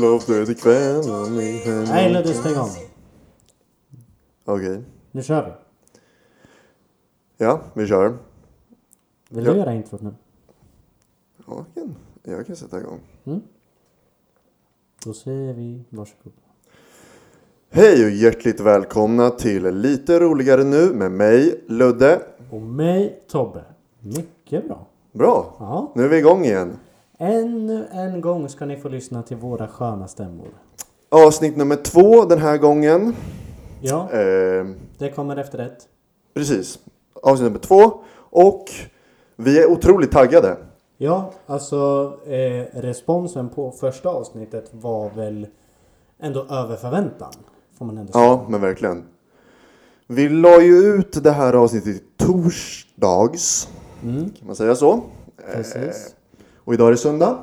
Lovde till kvällen i hemmet. Nej, Ludde, stäng av. Okej. Nu kör vi. Ja, vi kör. Vill Ja. du göra introt nu? Ja, jag kan- jag kan sätta igång. Då säger vi varsågod. Hej och hjärtligt välkomna till Lite roligare nu med mig, Ludde. Och mig, Tobbe. Mycket bra. Bra, Ja. nu är vi igång igen. Ännu en gång ska ni få lyssna till våra sköna stämmor. Avsnitt nummer två den här gången. Ja, Eh, det kommer efter ett. precis, avsnitt nummer två. Och vi är otroligt taggade. Ja, alltså eh, responsen på första avsnittet var väl ändå över förväntan. Får man ändå säga. Ja, men verkligen. Vi la ju ut det här avsnittet i torsdags. Mm, Kan man säga så? precis. Och idag är det söndag.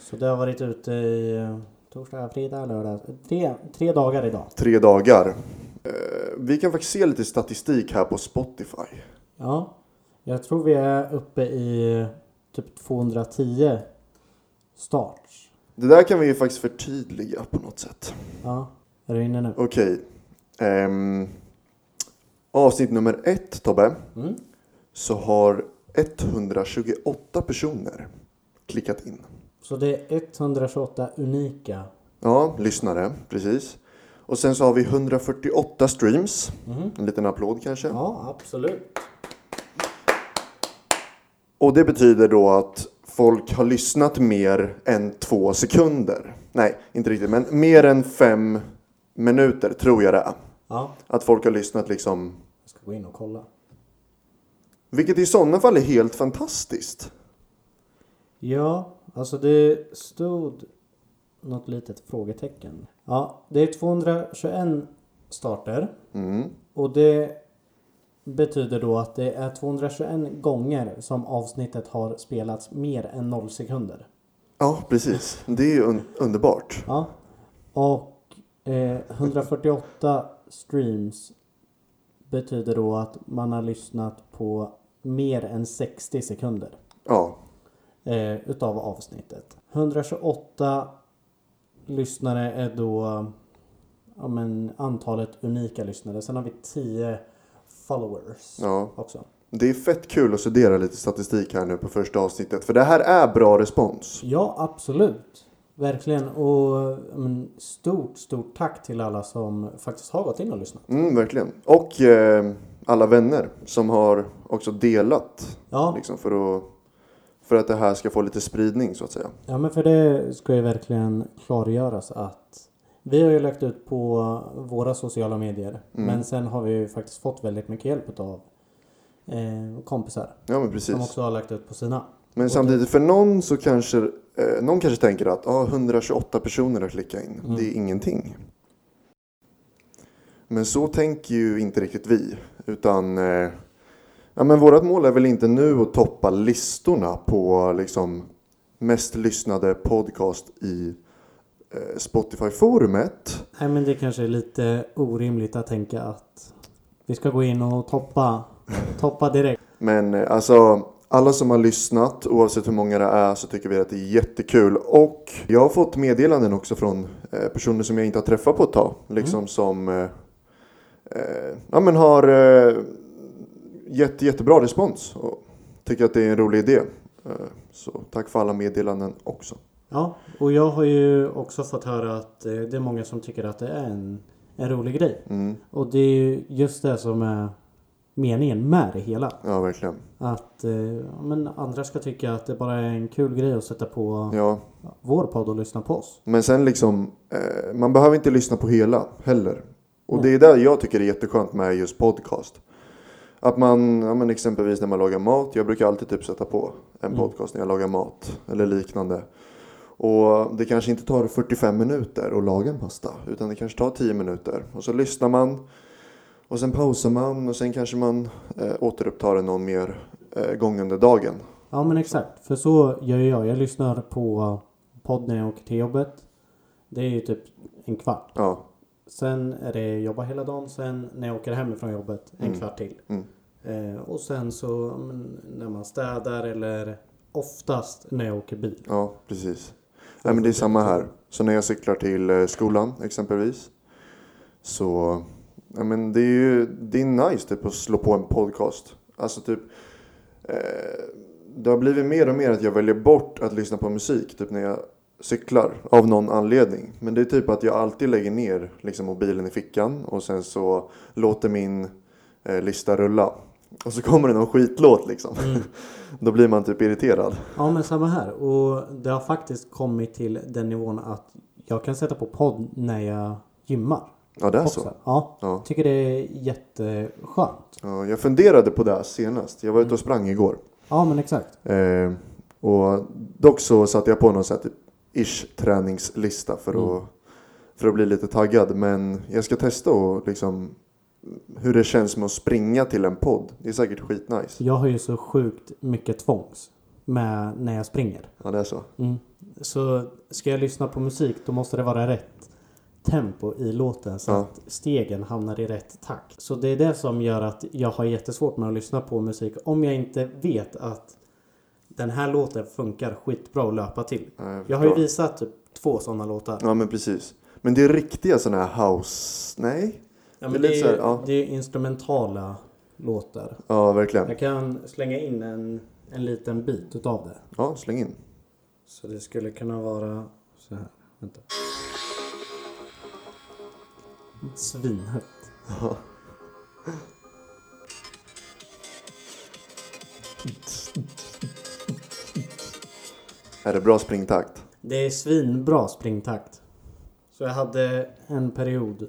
Så det har varit ute i eh, torsdag, fredag, lördag. Tre, tre dagar idag. Tre dagar. Eh, Vi kan faktiskt se lite statistik här på Spotify. Ja, jag tror vi är uppe i typ 210 starts. Det där kan vi ju faktiskt förtydliga på något sätt. Ja, är du inne nu? Okej. Ehm, avsnitt nummer ett, Tobbe. Mm. Så har 128 personer klickat in. Så det är 128 unika. Ja, lyssnare, precis. Och sen så har vi 148 streams. Mhm. En liten applåd kanske. Ja, absolut. Och det betyder då att folk har lyssnat mer än två sekunder. Nej, inte riktigt, men mer än fem minuter tror jag det är. Ja, Att folk har lyssnat liksom. jag ska gå in och kolla. Vilket i sådana fall är helt fantastiskt. Ja, alltså det stod något litet frågetecken. Ja, det är 221 starter Mm. och det betyder då att det är 221 gånger som avsnittet har spelats mer än 0 sekunder. Ja, precis. Det är ju un- underbart. Ja. Och eh, 148 streams betyder då att man har lyssnat på mer än 60 sekunder Ja, eh, utav avsnittet. 128 lyssnare är då ja, men, antalet unika lyssnare. Sen har vi 10 followers ja. också. Det är fett kul att studera lite statistik här nu på första avsnittet. För det här är bra respons. Ja, absolut. Verkligen. Och ja, men, stort, stort tack till alla som faktiskt har gått in och lyssnat. Mm, verkligen. Och eh, alla vänner som har också delat Ja, Liksom för, att, för att det här ska få lite spridning så att säga. Ja men för det ska ju verkligen klargöras att vi har ju lagt ut på våra sociala medier men sen har vi ju faktiskt fått väldigt mycket hjälp av eh, kompisar Ja men som precis. också har lagt ut på sina. Men samtidigt för någon så kanske eh, någon kanske tänker att ah, 128 personer har klickat in. Mm. Det är ingenting. Men så tänker ju inte riktigt vi. Utan eh, ja, men vårt mål är väl inte nu att toppa listorna på liksom, mest lyssnade podcast i eh, Spotify-forumet. Nej men det kanske är lite orimligt att tänka att vi ska gå in och toppa, toppa direkt. Men eh, alltså, alla som har lyssnat, oavsett hur många det är, så tycker vi att det är jättekul. Och jag har fått meddelanden också från eh, personer som jag inte har träffat på ett tag. Liksom som eh, eh, ja, men har eh, jätte, jättebra respons och tycker att det är en rolig idé. Eh, så tack för alla meddelanden också. Ja och jag har ju också fått höra att eh, det är många som tycker att det är en, en rolig grej. Mm, Och det är ju just det som är meningen med det hela. ja, verkligen. Att eh, ja, men andra ska tycka att det bara är en kul grej att sätta på Ja. vår podd och lyssna på oss. Men sen liksom, eh, man behöver inte lyssna på hela heller. Och det är där jag tycker det är jätteskönt med just podcast. Att man, ja, men exempelvis när man lagar mat, jag brukar alltid typ sätta på en podcast när jag lagar mat eller liknande. Och det kanske inte tar 45 minuter att laga en pasta, utan det kanske tar 10 minuter. Och så lyssnar man, och sen pausar man och sen kanske man eh, återupptar det någon mer eh, gång under dagen. Ja men exakt, för så gör ju jag. Jag lyssnar på podd när jag åker till jobbet. Det är ju typ en kvart. Ja, Sen är det jobba hela dagen. Sen när jag åker hemifrån jobbet en kvart till. Mm. Eh, och sen så ja, men, när man städar eller oftast när jag åker bil. Ja, precis. Nej, men det är samma här. Så när jag cyklar till eh, skolan exempelvis. Så ja, men det är ju det är nice typ, att slå på en podcast. Alltså typ. Eh, det har blivit mer och mer att jag väljer bort att lyssna på musik typ när jag cyklar av någon anledning. Men det är typ att jag alltid lägger ner liksom, mobilen i fickan och sen så låter min eh, lista rulla. Och så kommer det någon skitlåt liksom. Då blir man typ irriterad. Ja men samma här och det har faktiskt kommit till den nivån att jag kan sätta på podd när jag gymmar. Ja, det är så. Också. Ja, Ja. tycker det är jätteskönt. Ja, jag funderade på det här senast. Jag var Mm. ute och sprang igår. Ja men exakt. Eh, och dock så satte jag på någon sån här typ ish träningslista för Mm. att, för att bli lite taggad. Men jag ska testa och liksom hur det känns med att springa till en podd. Det är säkert skitnice. Jag har ju så sjukt mycket tvångs med när jag springer. Ja, det är så. Så ska jag lyssna på musik då måste det vara rätt tempo i låten så Ja. att stegen hamnar i rätt takt. Så det är det som gör att jag har jättesvårt med att lyssna på musik om jag inte vet att den här låten funkar skitbra att löpa till. Ja, jag Jag har ju Eh, förstår. visat typ två sådana låtar. Ja, men precis. Men det är riktiga sådana här house... Nej? Ja, Det men är lite det, är, så här, ju- ja. det är ju instrumentala låtar. Ja, verkligen. Jag kan slänga in en, en liten bit utav det. Ja, släng in. Så det skulle kunna vara så här. Vänta. Svinhögt. Är det bra springtakt? Det är svinbra springtakt. Så jag hade en period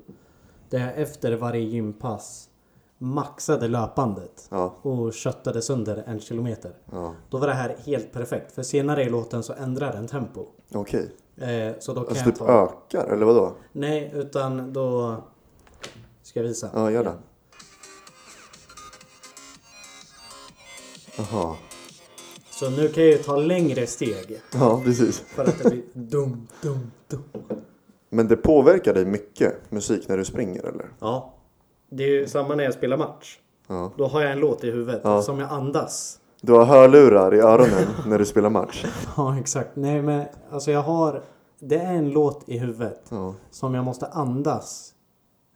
där jag efter varje gympass maxade löpandet Ja. och köttade sönder en kilometer. ja. Då var det här helt perfekt för senare i låten så ändrar den tempo. Okej. Eh, så då kan Alltså jag typ ta... ökar, eller vadå? Nej, utan då... Ska jag visa? Ja, gör det. Jaha. Så nu kan jag ju ta längre steg. Ja, precis. För att det blir dum, dum, dum. Men det påverkar dig mycket, musik, när du springer eller? Ja. Det är ju samma när jag spelar match. Ja. Då har jag en låt i huvudet Ja. som jag andas. Du har hörlurar i öronen när du spelar match. Ja, exakt. Nej, men alltså jag har... Det är en låt i huvudet Ja. som jag måste andas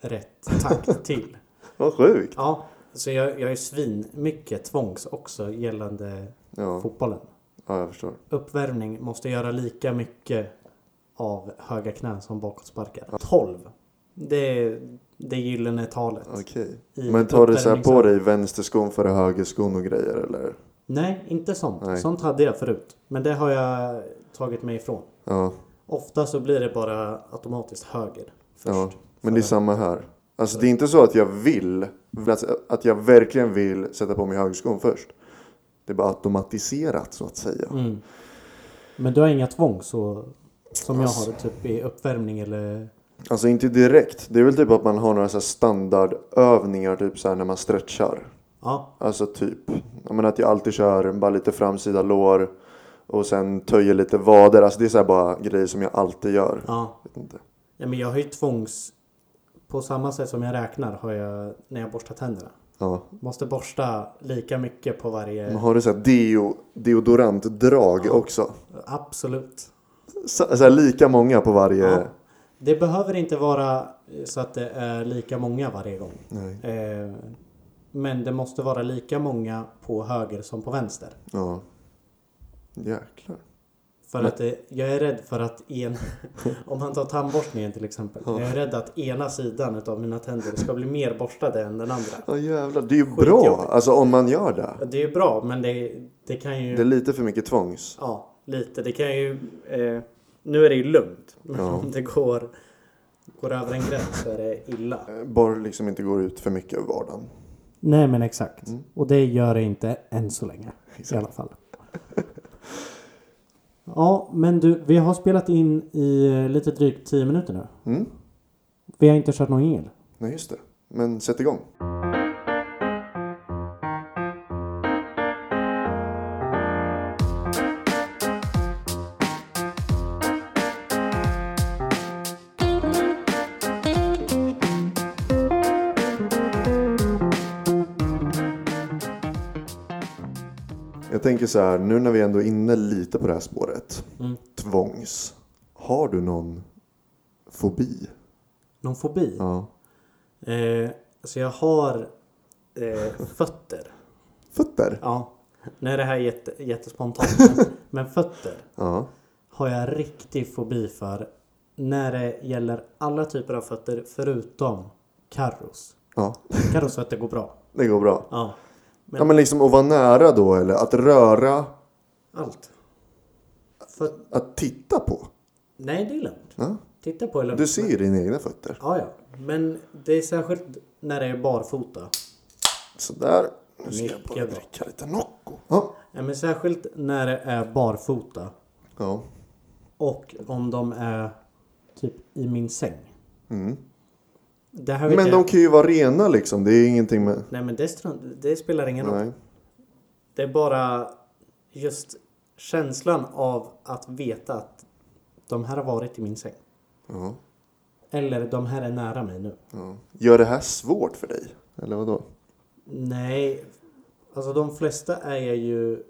rätt takt till. Vad sjukt. Ja, så jag, jag är svin mycket tvångs också gällande Ja. fotbollen. ja, jag förstår. Uppvärmning måste göra lika mycket av höga knän som bakåtsparkar. 12. Det är det gyllene talet. Okej. I Men tar du så här på uppvärmningssammanhang. dig vänsterskon före högerskon och grejer eller? Nej, inte sånt. Nej. Sånt hade jag förut. Men det har jag tagit mig ifrån. Ja. Ofta så blir det bara automatiskt höger först. ja. Men det är samma här. Alltså det är inte så att jag vill, alltså, att jag verkligen vill sätta på mig högerskon först. Det är bara automatiserat så att säga. Mm. Men du har inga tvång så, som jag har typ i uppvärmning eller... Alltså inte direkt. Det är väl typ att man har några så här standardövningar typ så här när man stretchar. Ja, Alltså typ. Jag menar att jag alltid kör bara lite framsida lår. Och sen töjer lite vader. Alltså det är så här bara grejer som jag alltid gör. ja. Jag vet inte. ja men jag har ju tvångs... På samma sätt som jag räknar har jag när jag borstar tänderna. Ja. Måste borsta lika mycket på varje... Men har du så här deo, deodorantdrag också? Absolut. Så, så här lika många på varje. Ja. Det behöver inte vara eh, så att det är lika många varje gång. Nej. Eh, Men det måste vara lika många på höger som på vänster. Ja. Jäklar. För att det, jag är rädd för att en... Om man tar tandborstningen till exempel. Jag är rädd att ena sidan av mina tänder ska bli mer borstade än den andra. Ja jävlar. Det är ju bra. Skitjobbigt. Alltså om man gör det. Det är ju bra men det, det kan ju... Det är lite för mycket tvångs. Ja, lite. Det kan ju... Eh, nu är det ju lugnt. Men Ja. om det går, går över en gräns så är det illa. Bara liksom inte går ut för mycket av vardagen. Nej men exakt. Mm. Och det gör det inte än så länge. I alla fall. Ja men du, vi har spelat in i eh, lite drygt 10 minuter nu. Mm. Vi har inte kört någon el. Nej, just det. Men sätt igång. Jag Jag tänker så här, nu när vi ändå är inne lite på det här spåret. Mm. Tvångs. Har du någon fobi? Någon fobi? Ja. Eh, så jag har eh, fötter. Fötter? Ja. Nu är det här jätte, jättespontant. Men, men fötter Ja. har jag riktig fobi för. När det gäller alla typer av fötter förutom Karros. Ja, Karrosfötter går bra. det går bra. Ja. Ja men liksom att vara nära då eller att röra, Allt. Föt- att titta på. Nej, det är lugnt. Ja. Titta på det lugnt. Du ser ju dina egna fötter. Ja, ja. Men det är särskilt när det är barfota. Sådär. Nu ska jag Mycket bara bra. dricka lite Nocco. Ja. Ja, men särskilt när det är barfota. Ja. Och om de är typ i min säng. Mm. Det här vet Men jag. de kan ju vara rena liksom. Det är ingenting med... Nej men det, strunt, det spelar ingen roll. Nej. Det är bara just känslan av att veta att de här har varit i min säng. Ja. Eller de här är nära mig nu. Ja. Gör det här svårt för dig? Eller vadå? Nej, alltså de flesta är jag ju...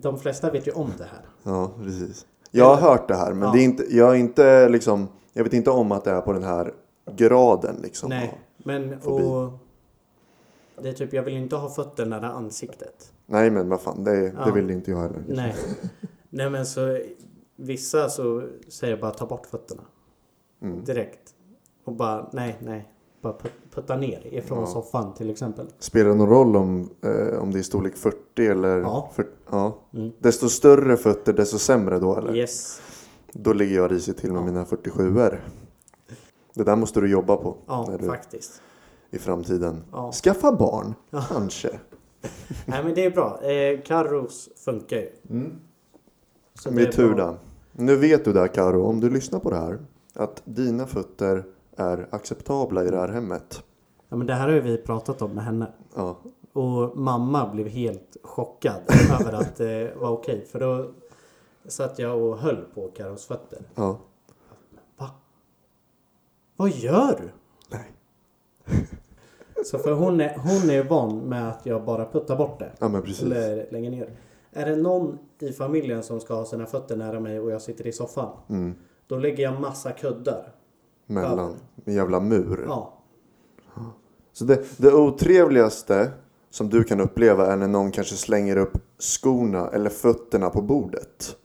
De flesta vet ju om det här. Ja, precis. Jag har hört det här men Ja. det är inte, jag är inte liksom... Jag vet inte om att det är på den här graden liksom. Nej, men fobi. och... Det är typ, jag vill inte ha fötter nära ansiktet. Nej men vad fan, det, Ja. det vill inte jag heller. Nej. Nej men så vissa så säger jag bara ta bort fötterna. Mm. Direkt. Och bara nej, nej. Bara put- putta ner ifrån Ja. soffan till exempel. Spelar det någon roll om, eh, om det är storlek 40 eller... Ja. fyrt- ja. Mm. Desto större fötter desto sämre då eller? Yes. Då ligger jag risigt till med Ja. mina 47er. Det där måste du jobba på Ja, när du, faktiskt. i framtiden. Ja. Skaffa barn, Ja. kanske. Nej men det är bra. Eh, Carros funkar ju. Så Med är tur bra. då. Nu vet du där Karo, om du lyssnar på det här, att dina fötter är acceptabla i det här hemmet. Ja men det här har ju vi pratat om med henne. Ja, Och mamma blev helt chockad över att det var okej. För då satt jag och höll på Carros fötter. ja. Va? Vad gör du? Nej. Så för hon är, hon är van med att jag bara puttar bort det. ja men precis. Eller lägger ner. Är det någon i familjen som ska ha sina fötter nära mig och jag sitter i soffan. Mm. Då lägger jag massa kuddar. Mellan. En jävla mur. Ja. Så det, det otrevligaste som du kan uppleva är när någon kanske slänger upp skorna eller fötterna på bordet.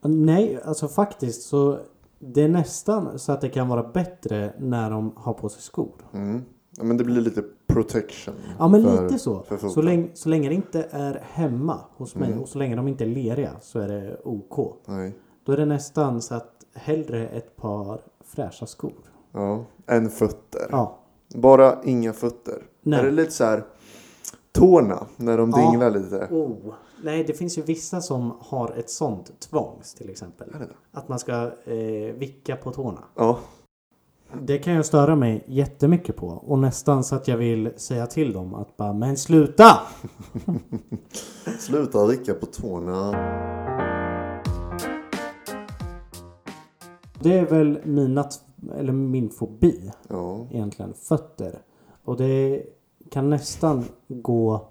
Nej, alltså faktiskt så det är nästan så att det kan vara bättre när de har på sig skor. Mm. Ja, men det blir lite protection. Ja men för- lite så. för foten. Så länge, så länge det inte är hemma hos mig Mm. och så länge de inte är leriga så är det OK. Nej. Då är det nästan så att hellre ett par fräscha skor. Ja. En fötter. Ja. Bara inga fötter. Nej. Är det lite så här tårna när de Ja. dinglar lite? Oh. Nej, det finns ju vissa som har ett sånt tvångs till exempel. Är det det? Att man ska eh, vicka på tårna. Ja. Det kan jag störa mig jättemycket på. Och nästan så att jag vill säga till dem att bara men sluta! Sluta rycka på tårna. Det är väl mina, t- eller min fobi Ja. egentligen, fötter. Och det kan nästan gå...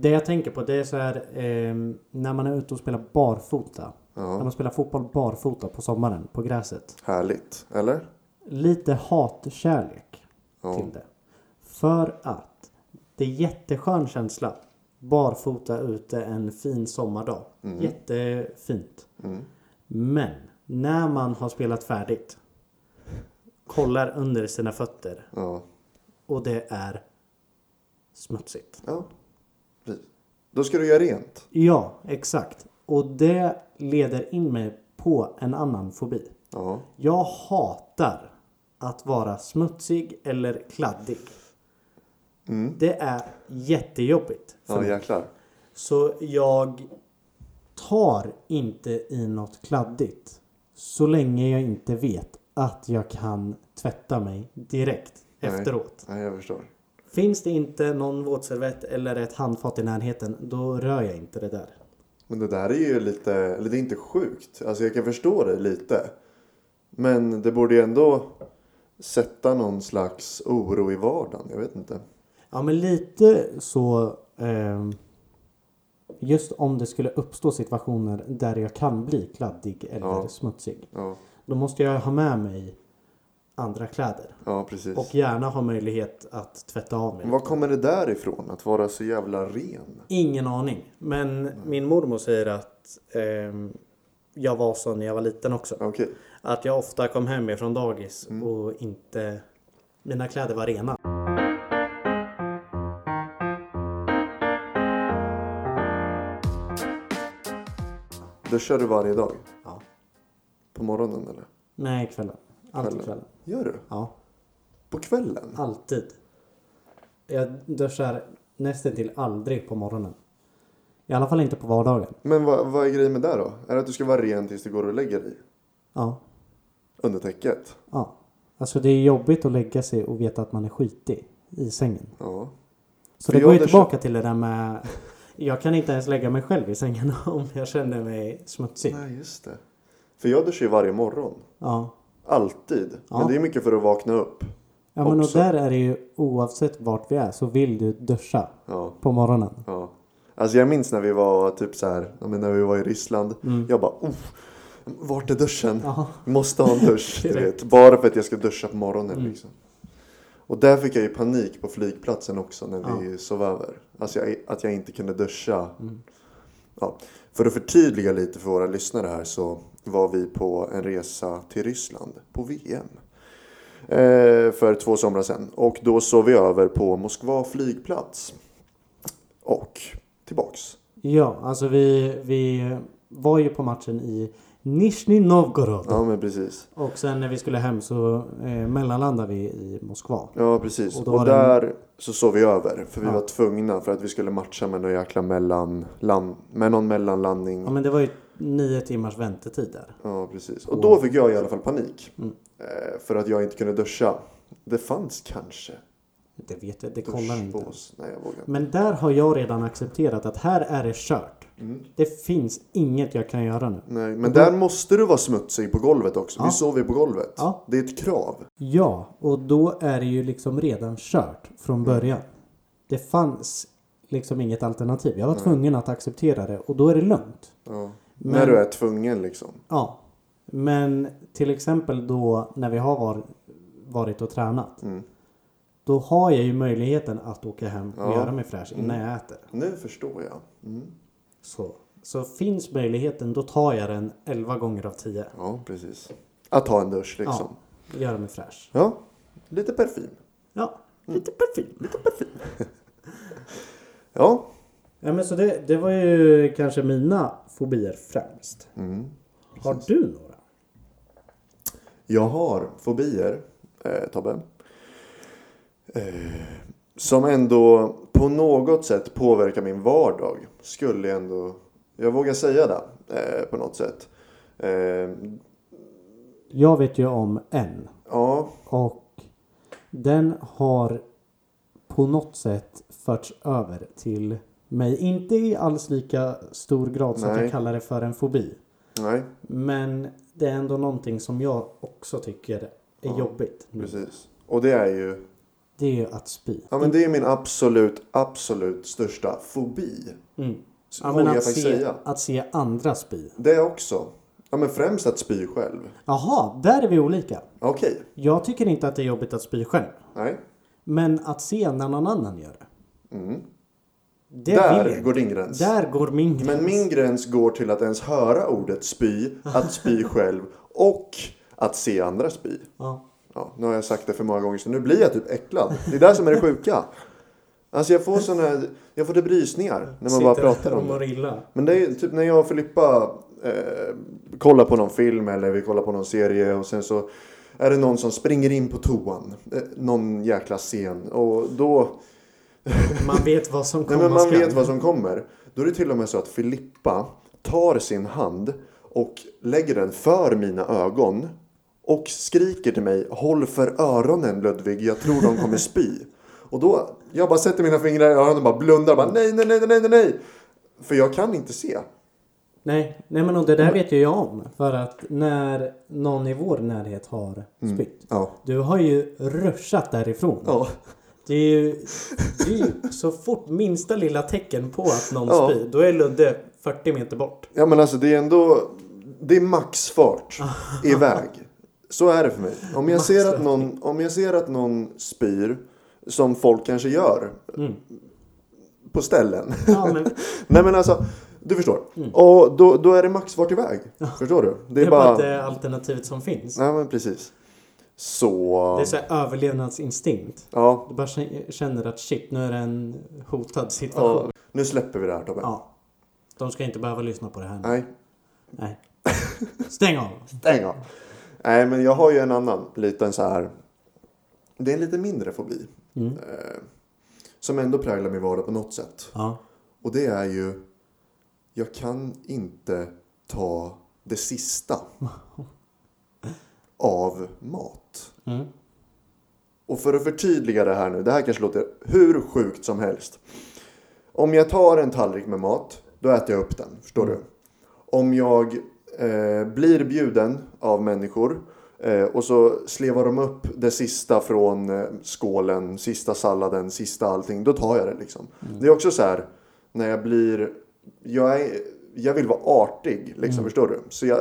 Det jag tänker på det är så här ehm, när man är ute och spelar barfota. När ja. man spelar fotboll barfota på sommaren på gräset. Härligt. Eller? lite hatkärlek Ja. till det. För att det är jätteskön känsla. Barfota ute en fin sommardag. Jättefint. Mm. Men när man har spelat färdigt kollar under sina fötter Ja. och det är smutsigt. ja. Precis. Då ska du göra rent. Ja, exakt. Och det leder in mig på en annan fobi. Ja. Jag hatar att vara smutsig eller kladdig. Det är jättejobbigt. för Mm. Ja mig. jäklar. Så jag tar inte i något kladdigt. Så länge jag inte vet att jag kan tvätta mig direkt Nej. efteråt. Nej jag förstår. Finns det inte någon våtservett eller ett handfat i närheten, då rör jag inte det där. Men det där är ju lite, eller det är inte sjukt. Alltså jag kan förstå det lite. Men det borde ju ändå sätta någon slags oro i vardagen. Jag vet inte. Ja men lite så eh, Just om det skulle uppstå situationer där jag kan bli kladdig eller Ja. smutsig. Ja, Då måste jag ha med mig andra kläder. ja precis. Och gärna ha möjlighet att tvätta av mig. Var kommer det där ifrån? Att vara så jävla ren? Ingen aning. Men Mm. min mormor säger att ehm, jag var så när jag var liten också. Okej. Att jag ofta kom hem från dagis Mm. och inte... Mina kläder var rena. Då kör du varje dag? Ja. På morgonen eller? Nej, kvällen. Alltid Kvällen. kvällen. Gör du? Ja, På kvällen? alltid. Jag duschar nästan till aldrig på morgonen. I alla fall inte på vardagen. Men vad, vad är grejen med det då? Är det att du ska vara ren tills du går och lägger dig? Ja, Under täcket? ja. Alltså det är jobbigt att lägga sig och veta att man är skitig i sängen. Ja. Så För det går ju jag duschar- tillbaka till det där med... Jag kan inte ens lägga mig själv i sängen om jag känner mig smutsig. Nej, just det. För jag duschar ju varje morgon. Ja. Alltid. Ja. Men det är mycket för att vakna upp. ja, men och Också. där är det ju oavsett vart vi är så vill du duscha Ja. på morgonen. ja. Alltså jag minns när vi var typ så här, ja, men när vi var i Ryssland. Jag bara, oh, vart är duschen? Mm. Ja, Måste ha en dusch, du Direkt. Mm. vet. Bara för att jag ska duscha på morgonen liksom. Och där fick jag ju panik på flygplatsen också när vi sov över. Alltså jag, att jag inte kunde duscha. Mm. Ja. För att förtydliga lite för våra lyssnare här så var vi på en resa till Ryssland på VM. Eh, för två somrar sedan. Och då sov vi över på Moskva flygplats. Och tillbaks. ja alltså vi, vi var ju på matchen i Nizhny Novgorod. Ja men precis. Och sen när vi skulle hem så eh, mellanlandade vi i Moskva. Ja, precis. Och Och, då var det en- där så sov vi över. För vi Ja. var tvungna för att vi skulle matcha med någon jäkla mellanland... Med någon mellanlandning. Ja Ja, men det var ju nio timmars väntetid där. precis. Och då fick jag i alla fall panik. Mm. Eh, För att jag inte kunde duscha. Det fanns kanske Det vet jag, det kollar jag dusch på inte. oss. Nej, jag vågar inte. Men där har jag redan accepterat att här är det kört. Det finns inget jag kan göra nu. Nej, men där måste du vara smutsig på golvet också. Ja. Vi sov ju på golvet. Ja. Det är ett krav. Ja, och då är det ju liksom redan kört från början. Det fanns liksom inget alternativ. Jag var tvungen att acceptera det och då är det lugnt. Ja. Men- När du är tvungen liksom. Ja. Men till exempel då när vi har var, varit och tränat. Mm. Då har jag ju möjligheten att åka hem och Ja. Mm. göra mig fräsch innan jag äter. Nu förstår jag. Mm. Så. Så finns möjligheten då tar jag den 11 gånger av 10. Ja, precis. Att ha en dusch liksom. Ja, göra mig fräsch. Ja. Lite parfym. Ja, Mm. lite parfym. Lite parfym. Ja. Ja, men så det, det var ju kanske mina fobier främst. Mm. Har du några? Jag har fobier, eh, Tobbe. Eh, som ändå på något sätt påverkar min vardag. Skulle jag ändå... Jag vågar säga det eh, på något sätt. Eh, Jag vet ju om en. ja, Och den har på något sätt förts över till mig. Inte i alls lika stor grad så att jag Nej. kallar det för en fobi. nej, Men det är ändå någonting som jag också tycker är jobbigt. nu. precis. Och det är ju... Det är ju att spy. Ja, men det är min absolut, absolut största fobi. Mm. Så Ja, men vågar jag att, faktiskt se, säga. att se andra spy. Det är också. Ja, men främst att spy själv. Jaha, där är vi olika. Okej. Jag tycker inte att det är jobbigt att spy själv. Nej. Men att se när någon annan gör det. Mm. det vill Där jag går inte. din gräns. Där går min gräns. Men min gräns går till att ens höra ordet spy, att spy själv och att se andra spy. Ja. Ja, nu har jag sagt det för många gånger så nu blir jag typ äcklad. Det är det som är det sjuka. Alltså jag får såna här, jag får typ rysningar när man bara Sitter pratar och om mår det. illa. Men det är ju typ när jag och Filippa eh, kollar på någon film eller vi kollar på någon serie och sen så är det någon som springer in på toan. Eh, någon jäkla scen. Och då... Man vet vad som Nej, kommer men man skall. vet vad som kommer. Då är det till och med så att Filippa tar sin hand och lägger den för mina ögon och skriker till mig Håll för öronen Ludvig, jag tror de kommer spy. och då, jag bara sätter mina fingrar i öronen och bara blundar bara nej, nej, nej, nej, nej, nej. För jag kan inte se. Nej, nej men och det där vet ju jag om. För att när någon i vår närhet har spytt. Mm. Ja. Du har ju ruschat därifrån. Ja. Det är ju, det är ju så fort minsta lilla tecken på att någon Ja. spyr, då är Ludde 40 meter bort. Ja men alltså det är ändå, det är maxfart iväg. Så är det för mig. Om jag, ser att någon, om jag ser att någon spyr, som folk kanske gör, Mm. på ställen. Ja, men Nej men alltså, du förstår. Och då, då är det maxfart iväg. Förstår du? Mm. det är bara inte alternativet som finns. Nej men precis. Så... Det är så här överlevnadsinstinkt. Ja, Du bara k- känner att shit, nu är det en hotad situation. ja. Nu släpper vi det här Tobbe. Ja. De ska inte behöva lyssna på det här nu. Nej, Nej. Stäng av! stäng av. Nej men jag har ju en annan liten så här. Det är en lite mindre fobi. Mm. Eh, som ändå präglar min vardag på något sätt. Ja. Och det är ju. Jag kan inte ta det sista. av mat. Mm. Och för att förtydliga det här nu, det här kanske låter hur sjukt som helst. Om jag tar en tallrik med mat, då äter jag upp den. Förstår du? Om jag eh, blir bjuden av människor eh, och så slevar de upp det sista från eh, skålen, sista salladen, sista allting. Då tar jag det liksom. Det är också så här, när jag blir... Jag, är, jag vill vara artig, liksom, förstår du? Så jag,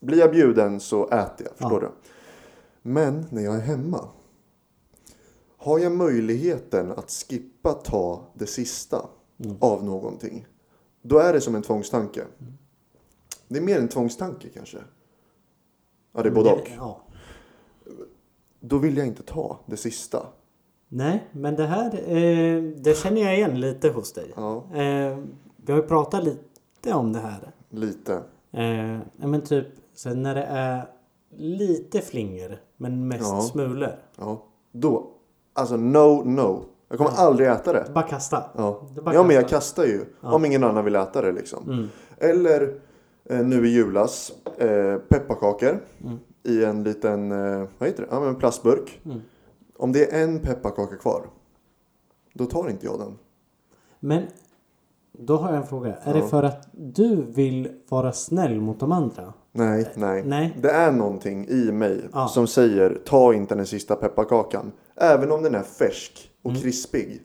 blir jag bjuden så äter jag, förstår du? Men när jag är hemma, har jag möjligheten att skippa ta det sista av någonting, då är det som en tvångstanke. Det är mer en tvångstanke kanske. Ja, det är både och. Ja. Då vill jag inte ta det sista. Nej, men det här eh, det känner jag igen lite hos dig. Ja, Eh, vi har ju pratat lite om det här. lite. Eh, ja, men typ så när det är lite flinger men mest Ja. smulor. Ja, då. Alltså no, no. Jag kommer aldrig äta det. Bara kasta. Ja, Det är bara Mm. ja men jag kasta. kastar ju. Om ingen annan vill äta det liksom. Eller eh, nu i julas, eh, pepparkakor Mm. i en liten eh, vad heter det? Ja, men en plastburk. Mm. Om det är en pepparkaka kvar, då tar inte jag den. Men då har jag en fråga. Är det för att du vill vara snäll mot de andra? Nej, nej. nej. Det är någonting i mig Ja. som säger ta inte den sista pepparkakan. Även om den är färsk och krispig.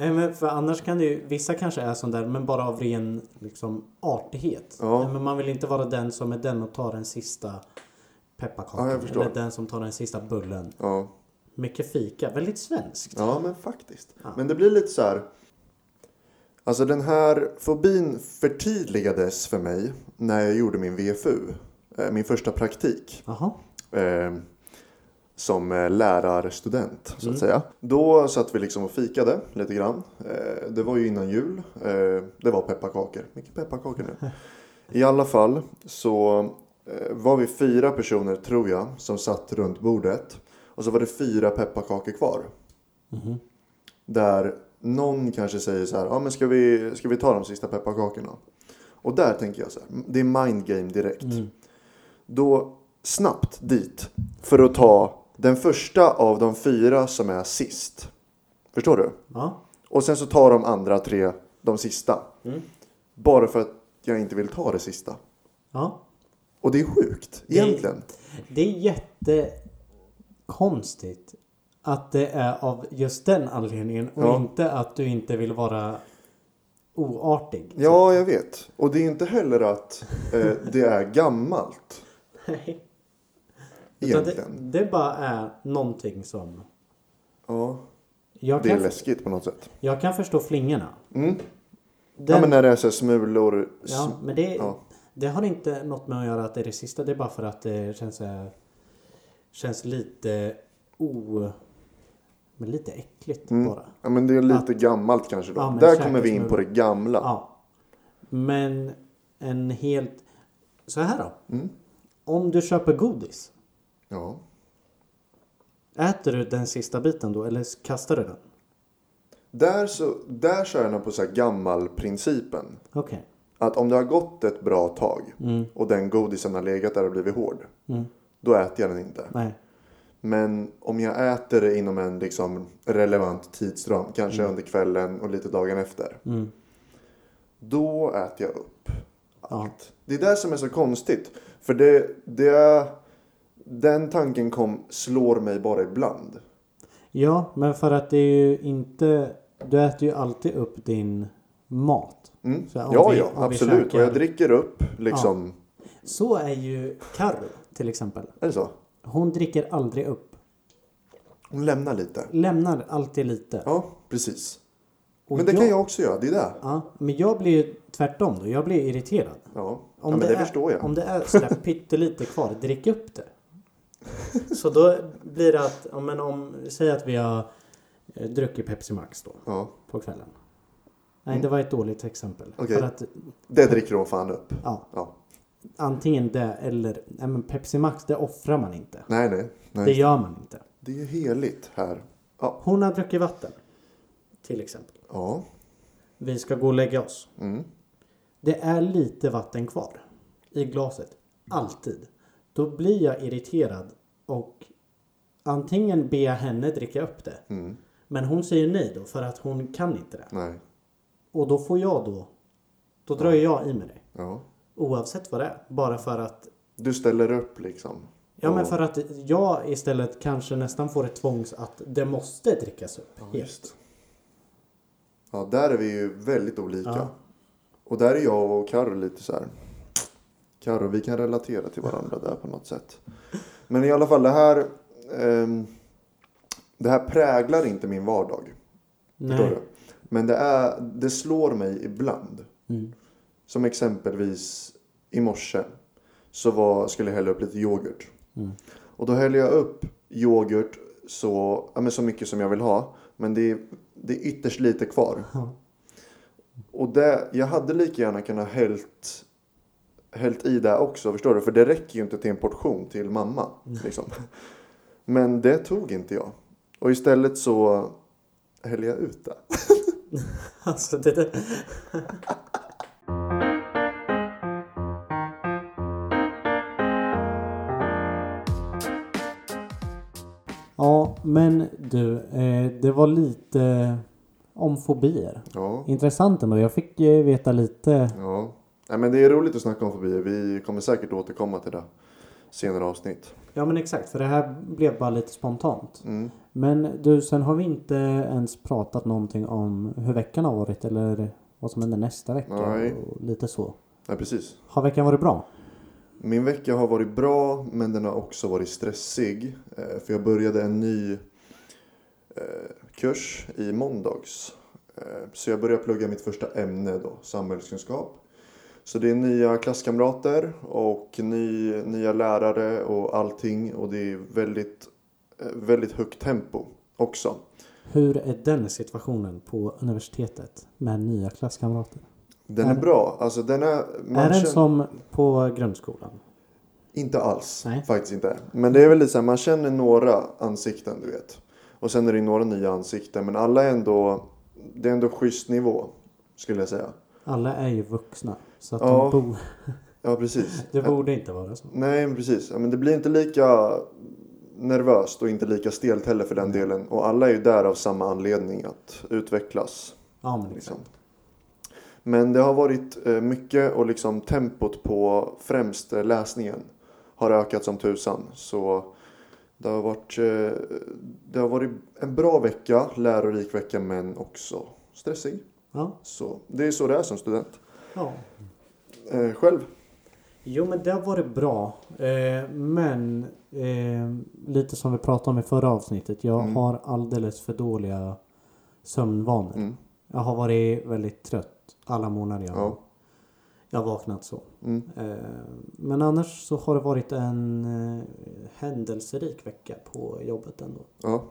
Nej, men för annars kan det ju, vissa kanske är sån där men bara av ren liksom, artighet. Ja. Nej, Men man vill inte vara den som är den och tar den sista pepparkakan. Ja, jag förstår. eller den som tar den sista bullen. Ja. Mycket fika, väldigt svenskt. Ja, men faktiskt. Men det blir lite så här. Alltså den här fobin förtydligades för mig när jag gjorde min VFU. eh, Min första praktik Jaha. eh, som eh, lärarstudent så att säga. Då satt vi liksom och fikade lite grann. Eh, det var ju innan jul. Eh, det var pepparkakor. Mycket pepparkakor nu. I alla fall så eh, var vi fyra personer tror jag som satt runt bordet. Och så var det fyra pepparkakor kvar. Där någon kanske säger så här, ja men ska vi, ska vi ta de sista pepparkakorna? Och där tänker jag så här, "Mm, det är mind game direkt. Då snabbt dit för att ta den första av de fyra som är sist. Förstår du? Ja. Och sen så tar de andra tre de sista. Mm. Bara för att jag inte vill ta det sista. ja. Och det är sjukt egentligen. Det är jättekonstigt att det är av just den anledningen och Ja. inte att du inte vill vara oartig. Ja, jag vet. Och det är inte heller att eh, det är gammalt. Nej. Utan det, Egentligen. det bara är någonting som... Ja, Jag det är kan, läskigt på något sätt. jag kan förstå flingorna. Mm. Den, Ja, men när det är så här smulor. s- ja, men det, ja. det har inte något med att göra att det är det sista. Det är bara för att det känns, så här- känns lite o... Men lite äckligt bara. Mm. Ja, men det är lite gammalt kanske då. Ja, men Där käka kommer vi in smulor. på det gamla. Ja. Men en helt... Så här då. Mm. Om du köper godis. Ja. Äter du den sista biten då eller kastar du den? Där, så, där kör jag nog på så här gammal-principen. Okej. Att om det har gått ett bra tag Mm. och den godisen har legat där och blivit hård. Då äter jag den inte. Nej. Men om jag äter det inom en liksom relevant tidsram, kanske Mm. under kvällen och lite dagen efter. Då äter jag upp allt. Det är det som är så konstigt. För det, det är Den tanken kom, slår mig bara ibland. Ja, men för att det är ju inte... Du äter ju alltid upp din mat. Mm. Så om Ja, vi- ja, om vi absolut. käkar- Och jag dricker upp liksom. Så är ju Carro till exempel. Är det så? Hon dricker aldrig upp. Hon lämnar lite. Lämnar alltid lite. Ja, precis. Och men det kan jag också göra. Det är det. Ja, men jag blir ju tvärtom då. Jag blir irriterad. Ja, ja men det, är, förstår jag. Om det är sådär pyttelite kvar, drick upp det. Så då blir det att, ja, men om, säg att vi har eh, druckit Pepsi Max då Ja, på kvällen. Nej, det var ett dåligt exempel. Mm. Okej. För att, det dricker hon fan upp. ja, Ja. antingen det eller, nej men Pepsi Max det offrar man inte. Nej, nej. nej. Det Det... gör man inte. är ju heligt här. Ja. Hon har druckit vatten. Till exempel. Ja. Vi ska gå och lägga oss. Mm. Det är lite vatten kvar i glaset. Alltid. Då blir jag irriterad och antingen ber jag henne dricka upp det. Mm. Men hon säger nej då för att hon kan inte det. Nej. Och då får jag då, då drar jag i mig det. Ja. Oavsett vad det är. Bara för att, Du ställer upp liksom. ja men Och- för att jag istället kanske nästan får ett tvångs att det måste drickas upp. Ja, helt. just. Ja, där är vi ju väldigt olika. Ja. Och där är jag och Karo lite så här. Karo, vi kan relatera till varandra där på något sätt. Men i alla fall, det här. ehm, det här präglar inte min vardag. Förstår Nej. du? Men det, är, det slår mig ibland. Mm. Som exempelvis i morse så var, skulle jag hälla upp lite yoghurt. Mm. Och då häller jag upp yoghurt så, ja, men så mycket som jag vill ha. Men det är, det är ytterst lite kvar. Ja. Och det, jag hade lika gärna kunnat hällt, hällt i det också, förstår du? För det räcker ju inte till en portion till mamma. Mm. Liksom. Men det tog inte jag. Och istället så hällde jag ut det. Alltså det där. Ja, men du, eh, det var lite om fobier. Ja. Intressant ändå. Jag fick eh, veta lite. Ja. Nej, men det är roligt att snacka om fobier. Vi kommer säkert återkomma till det senare avsnitt. Ja, men exakt. För det här blev bara lite spontant. Mm. Men du, sen har vi inte ens pratat någonting om hur veckan har varit eller vad som händer nästa vecka. Nej. Och lite så. Ja, precis. Har veckan varit bra? Min vecka har varit bra, men den har också varit stressig. Eh, För jag började en ny eh, kurs i måndags. Eh, Så jag började plugga mitt första ämne då, samhällskunskap. Så det är nya klasskamrater och ny, nya lärare och allting. Och det är väldigt, eh, väldigt högt tempo också. Hur är den situationen på universitetet med nya klasskamrater? Den är Är- bra. Alltså den är... man är den känner- som på grundskolan? Inte alls. Nej. Faktiskt inte. Men det är väl lite så här, man känner några ansikten du vet. Och sen är det ju några nya ansikten. Men alla är ändå, det är ändå schysst nivå. Skulle jag säga. Alla är ju vuxna. Så att Ja. de bo- Ja precis. det borde inte vara så. Nej men precis. Ja, men det blir inte lika nervöst och inte lika stelt heller för den delen. Och alla är ju där av samma anledning att utvecklas. Ja, men Liksom. liksom. Men det har varit eh, mycket och liksom tempot på främst eh, läsningen har ökat som tusan. Så det har varit, eh, det har varit en bra vecka, lärorik vecka men också stressig. ja. Så det är så det är som student. ja. Eh, själv? Jo, men det har varit bra. Eh, men eh, lite som vi pratade om i förra avsnittet. Jag Mm. har alldeles för dåliga sömnvanor. Mm. Jag har varit väldigt trött alla månader jag, Ja. jag har vaknat så. Mm. Eh, Men annars så har det varit en eh, händelserik vecka på jobbet ändå. Ja.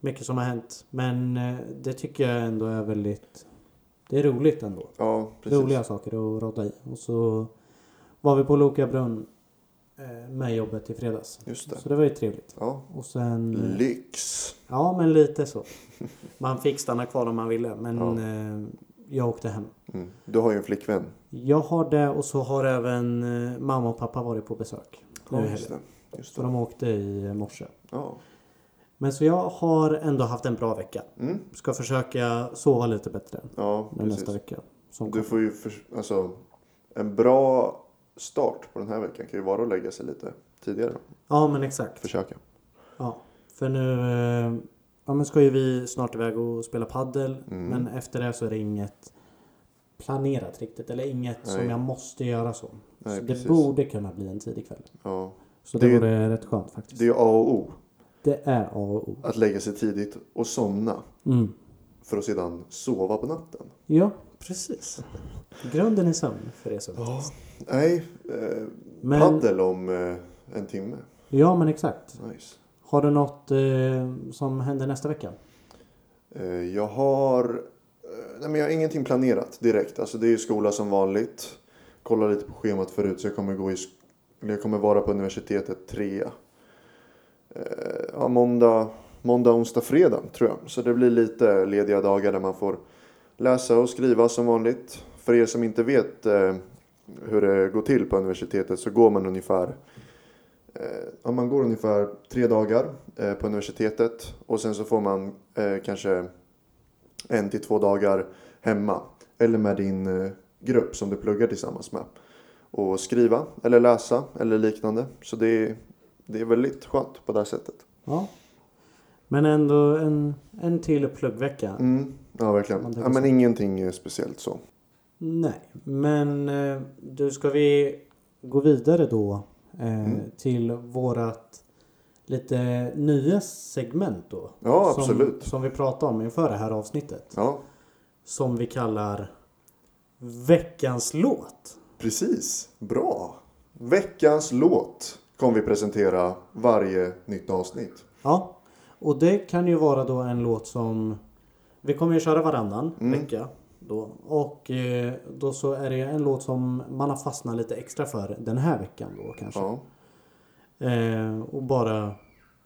Mycket som har hänt. Men eh, det tycker jag ändå är väldigt... Det är roligt ändå. ja, precis. Roliga saker att rodda i. Och så var vi på Loka brunn eh, med jobbet i fredags. Just det. Så det var ju trevligt. Ja. Och sen... eh, Lyx. Ja, men lite så. Man fick stanna kvar om man ville. Men Ja. eh, jag åkte hem. Mm. Du har ju en flickvän. Jag har det och så har även eh, mamma och pappa varit på besök. Nu i helgen. just det. Just Så det. de åkte i morse. Ja. Men så jag har ändå haft en bra vecka. Mm. Ska försöka sova lite bättre ja, nu precis. nästa vecka. Som Du kommer. får ju för, alltså, en bra start på den här veckan kan ju vara att lägga sig lite tidigare. Ja men exakt. Försöka. Ja, för nu eh, ja, men ska ju vi snart iväg och spela paddel Mm. Men efter det så är det inget planerat riktigt. Eller inget som Nej. jag måste göra så. Nej, så det precis. borde kunna bli en tidig kväll. Ja. Så det, Det- vore rätt skönt faktiskt. Det är ju A och O. Det är A och O. Att lägga sig tidigt och somna. Mm. För att sedan sova på natten. Ja, precis. Grunden är sömn för er som Ja. Nej. Eh, Men- Paddel om eh, en timme. Ja, men exakt. Nice. Har du något eh, som händer nästa vecka? Eh, Jag har, eh, nej men jag har ingenting planerat direkt. Alltså det är ju skola som vanligt. Kolla lite på schemat förut så jag kommer, gå i, sk- eller jag kommer vara på universitetet trea. Eh, Ja, måndag, måndag, onsdag, fredag tror jag. Så det blir lite lediga dagar där man får läsa och skriva som vanligt. För er som inte vet eh, hur det går till på universitetet så går man ungefär Eh, ja, man går ungefär tre dagar eh, på universitetet och sen så får man eh, kanske en till två dagar hemma eller med din eh, grupp som du pluggar tillsammans med och skriva eller läsa eller liknande. Så det är, det är väldigt skönt på det här sättet. Ja. Men ändå en, en till pluggvecka. Mm, ja, Man verkligen. tänker Ja, men så. ingenting eh, speciellt så. Nej, men eh, du ska vi gå vidare då eh, Mm. till vårat lite nya segment då. Ja, som, absolut. Som vi pratade om inför det här avsnittet. Ja, Som vi kallar Veckans låt. precis. Bra. Veckans låt kommer vi presentera varje nytt avsnitt. Ja, och det kan ju vara då en låt som vi kommer ju köra varannan Mm. vecka. Då. Och eh, då så är det en låt som man har fastnat lite extra för den här veckan då kanske. Ja. Eh, och bara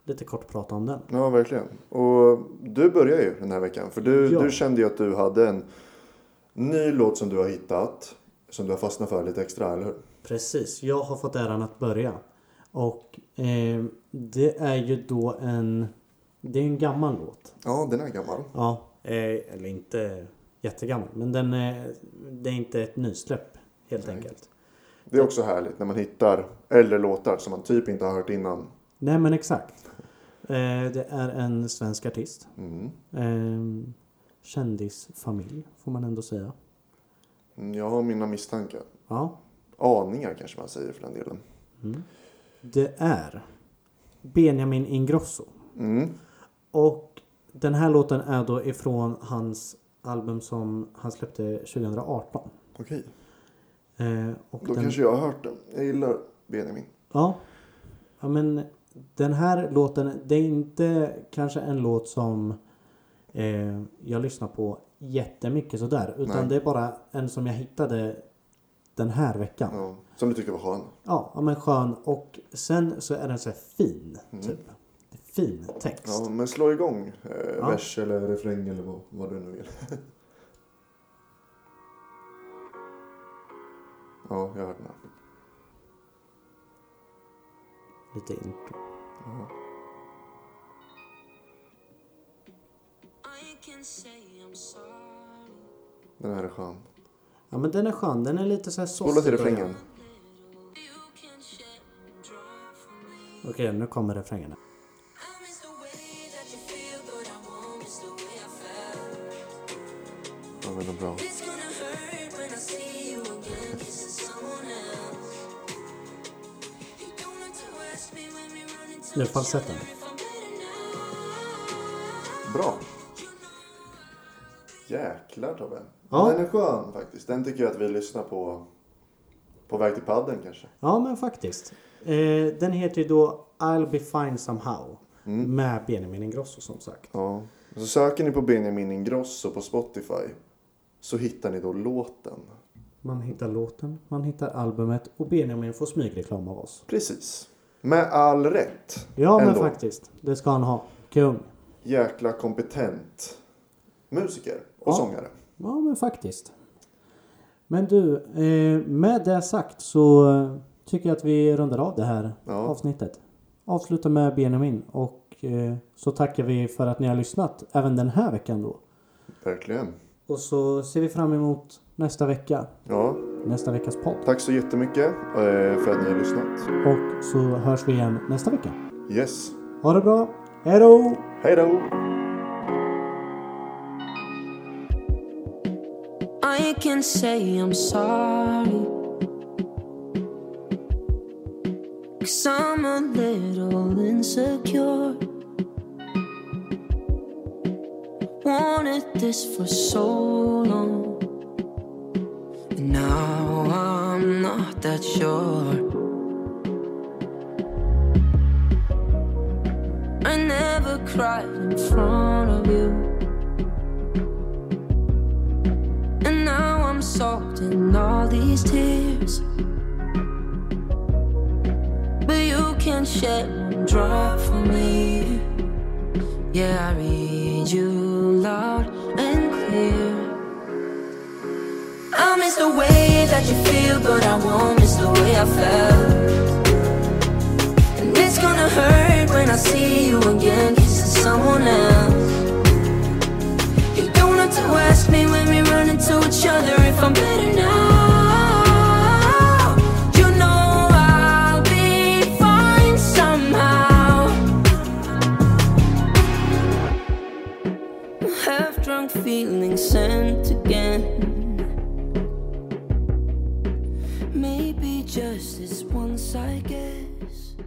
lite kort prata om den. Ja, verkligen. Och du börjar ju den här veckan. För du, Ja. du kände ju att du hade en ny låt som du har hittat. Som du har fastnat för lite extra, eller hur? Precis, jag har fått äran att börja. Och eh, det är ju då en... Det är en gammal låt. Ja, den är gammal. Ja, eh, eller inte jättegammal. Men den är, det är inte ett nysläpp helt enkelt. Det är också härligt när man hittar äldre låtar som man typ inte har hört innan. Nej men exakt. Eh, det är en svensk artist. Mm. Eh, kändisfamilj får man ändå säga. Mm, Jag har mina misstankar. Ja, Aningar kanske man säger för den delen. det är Benjamin Ingrosso. Mm. Och den här låten är då ifrån hans album som han släppte 2018. Okej, Eh, och då den, kanske jag har hört den. Jag gillar Benjamin. ja, ja, men den här låten, det är inte kanske en låt som eh, jag lyssnar på jättemycket sådär. Utan Nej. det är bara en som jag hittade den här veckan. Ja, Ja. Som du tycker var skön. ja men skön. Och sen så är den så här fin, typ. Fin text. Mm. Ja, men slå igång eh, Ja. vers eller refräng eller vad, vad du nu vill. ja, jag hörde den. här. Lite intro. I can say I'm sorry. Den här är skön. Ja men den är skön. Den är lite så här Spola till sossig början. refrängen. Little you can shed dry for me. Okej, nu kommer refrängen. I miss the way that you feel, but I won't miss the way I felt. Ja, men den är bra. It's gonna hurt when I see you again, kissing someone else. You don't have to ask me when we run into Nu each falsetten. other if I'm better now. Bra. You know Jäklar Tobbe. Ja. Den är skön faktiskt. Den tycker jag att vi lyssnar på på väg till padden kanske. Ja, men faktiskt. Eh, den heter ju då I'll be fine somehow. Mm. Med Benjamin Ingrosso som sagt. Ja. Så söker ni på Benjamin Ingrosso på Spotify så hittar ni då låten. Man hittar låten, man hittar albumet och Benjamin får smygreklam av oss. Precis. Med all rätt. Ja, men ändå. faktiskt. Det ska han ha. Kung. Jäkla kompetent musiker och Ja. sångare. Ja, men faktiskt. Men du, eh, med det sagt så eh, tycker jag att vi rundar av det här Ja. avsnittet. Avsluta med Benjamin och eh, så tackar vi för att ni har lyssnat även den här veckan då. Verkligen. Och så ser vi fram emot nästa vecka. Ja, nästa veckas podd. Tack så jättemycket eh, för att ni har lyssnat. Och så hörs vi igen nästa vecka. Yes, Ha det bra. Hej då! hej då! I can say I'm sorry. Cause I'm a little insecure. Wanted this for so long. And now I'm not that sure. I never cried in front of you. And now I'm soaked in all these tears. But you can shed one drop for me. Yeah, I read you loud and clear. I miss the way that you feel, but I won't miss the way I felt. And it's gonna hurt when I see you again, kissing someone else. You don't have to ask me when we run into each other if I'm better now. You know I'll be fine somehow. Half drunk feelings sent again. Maybe just this once, I guess.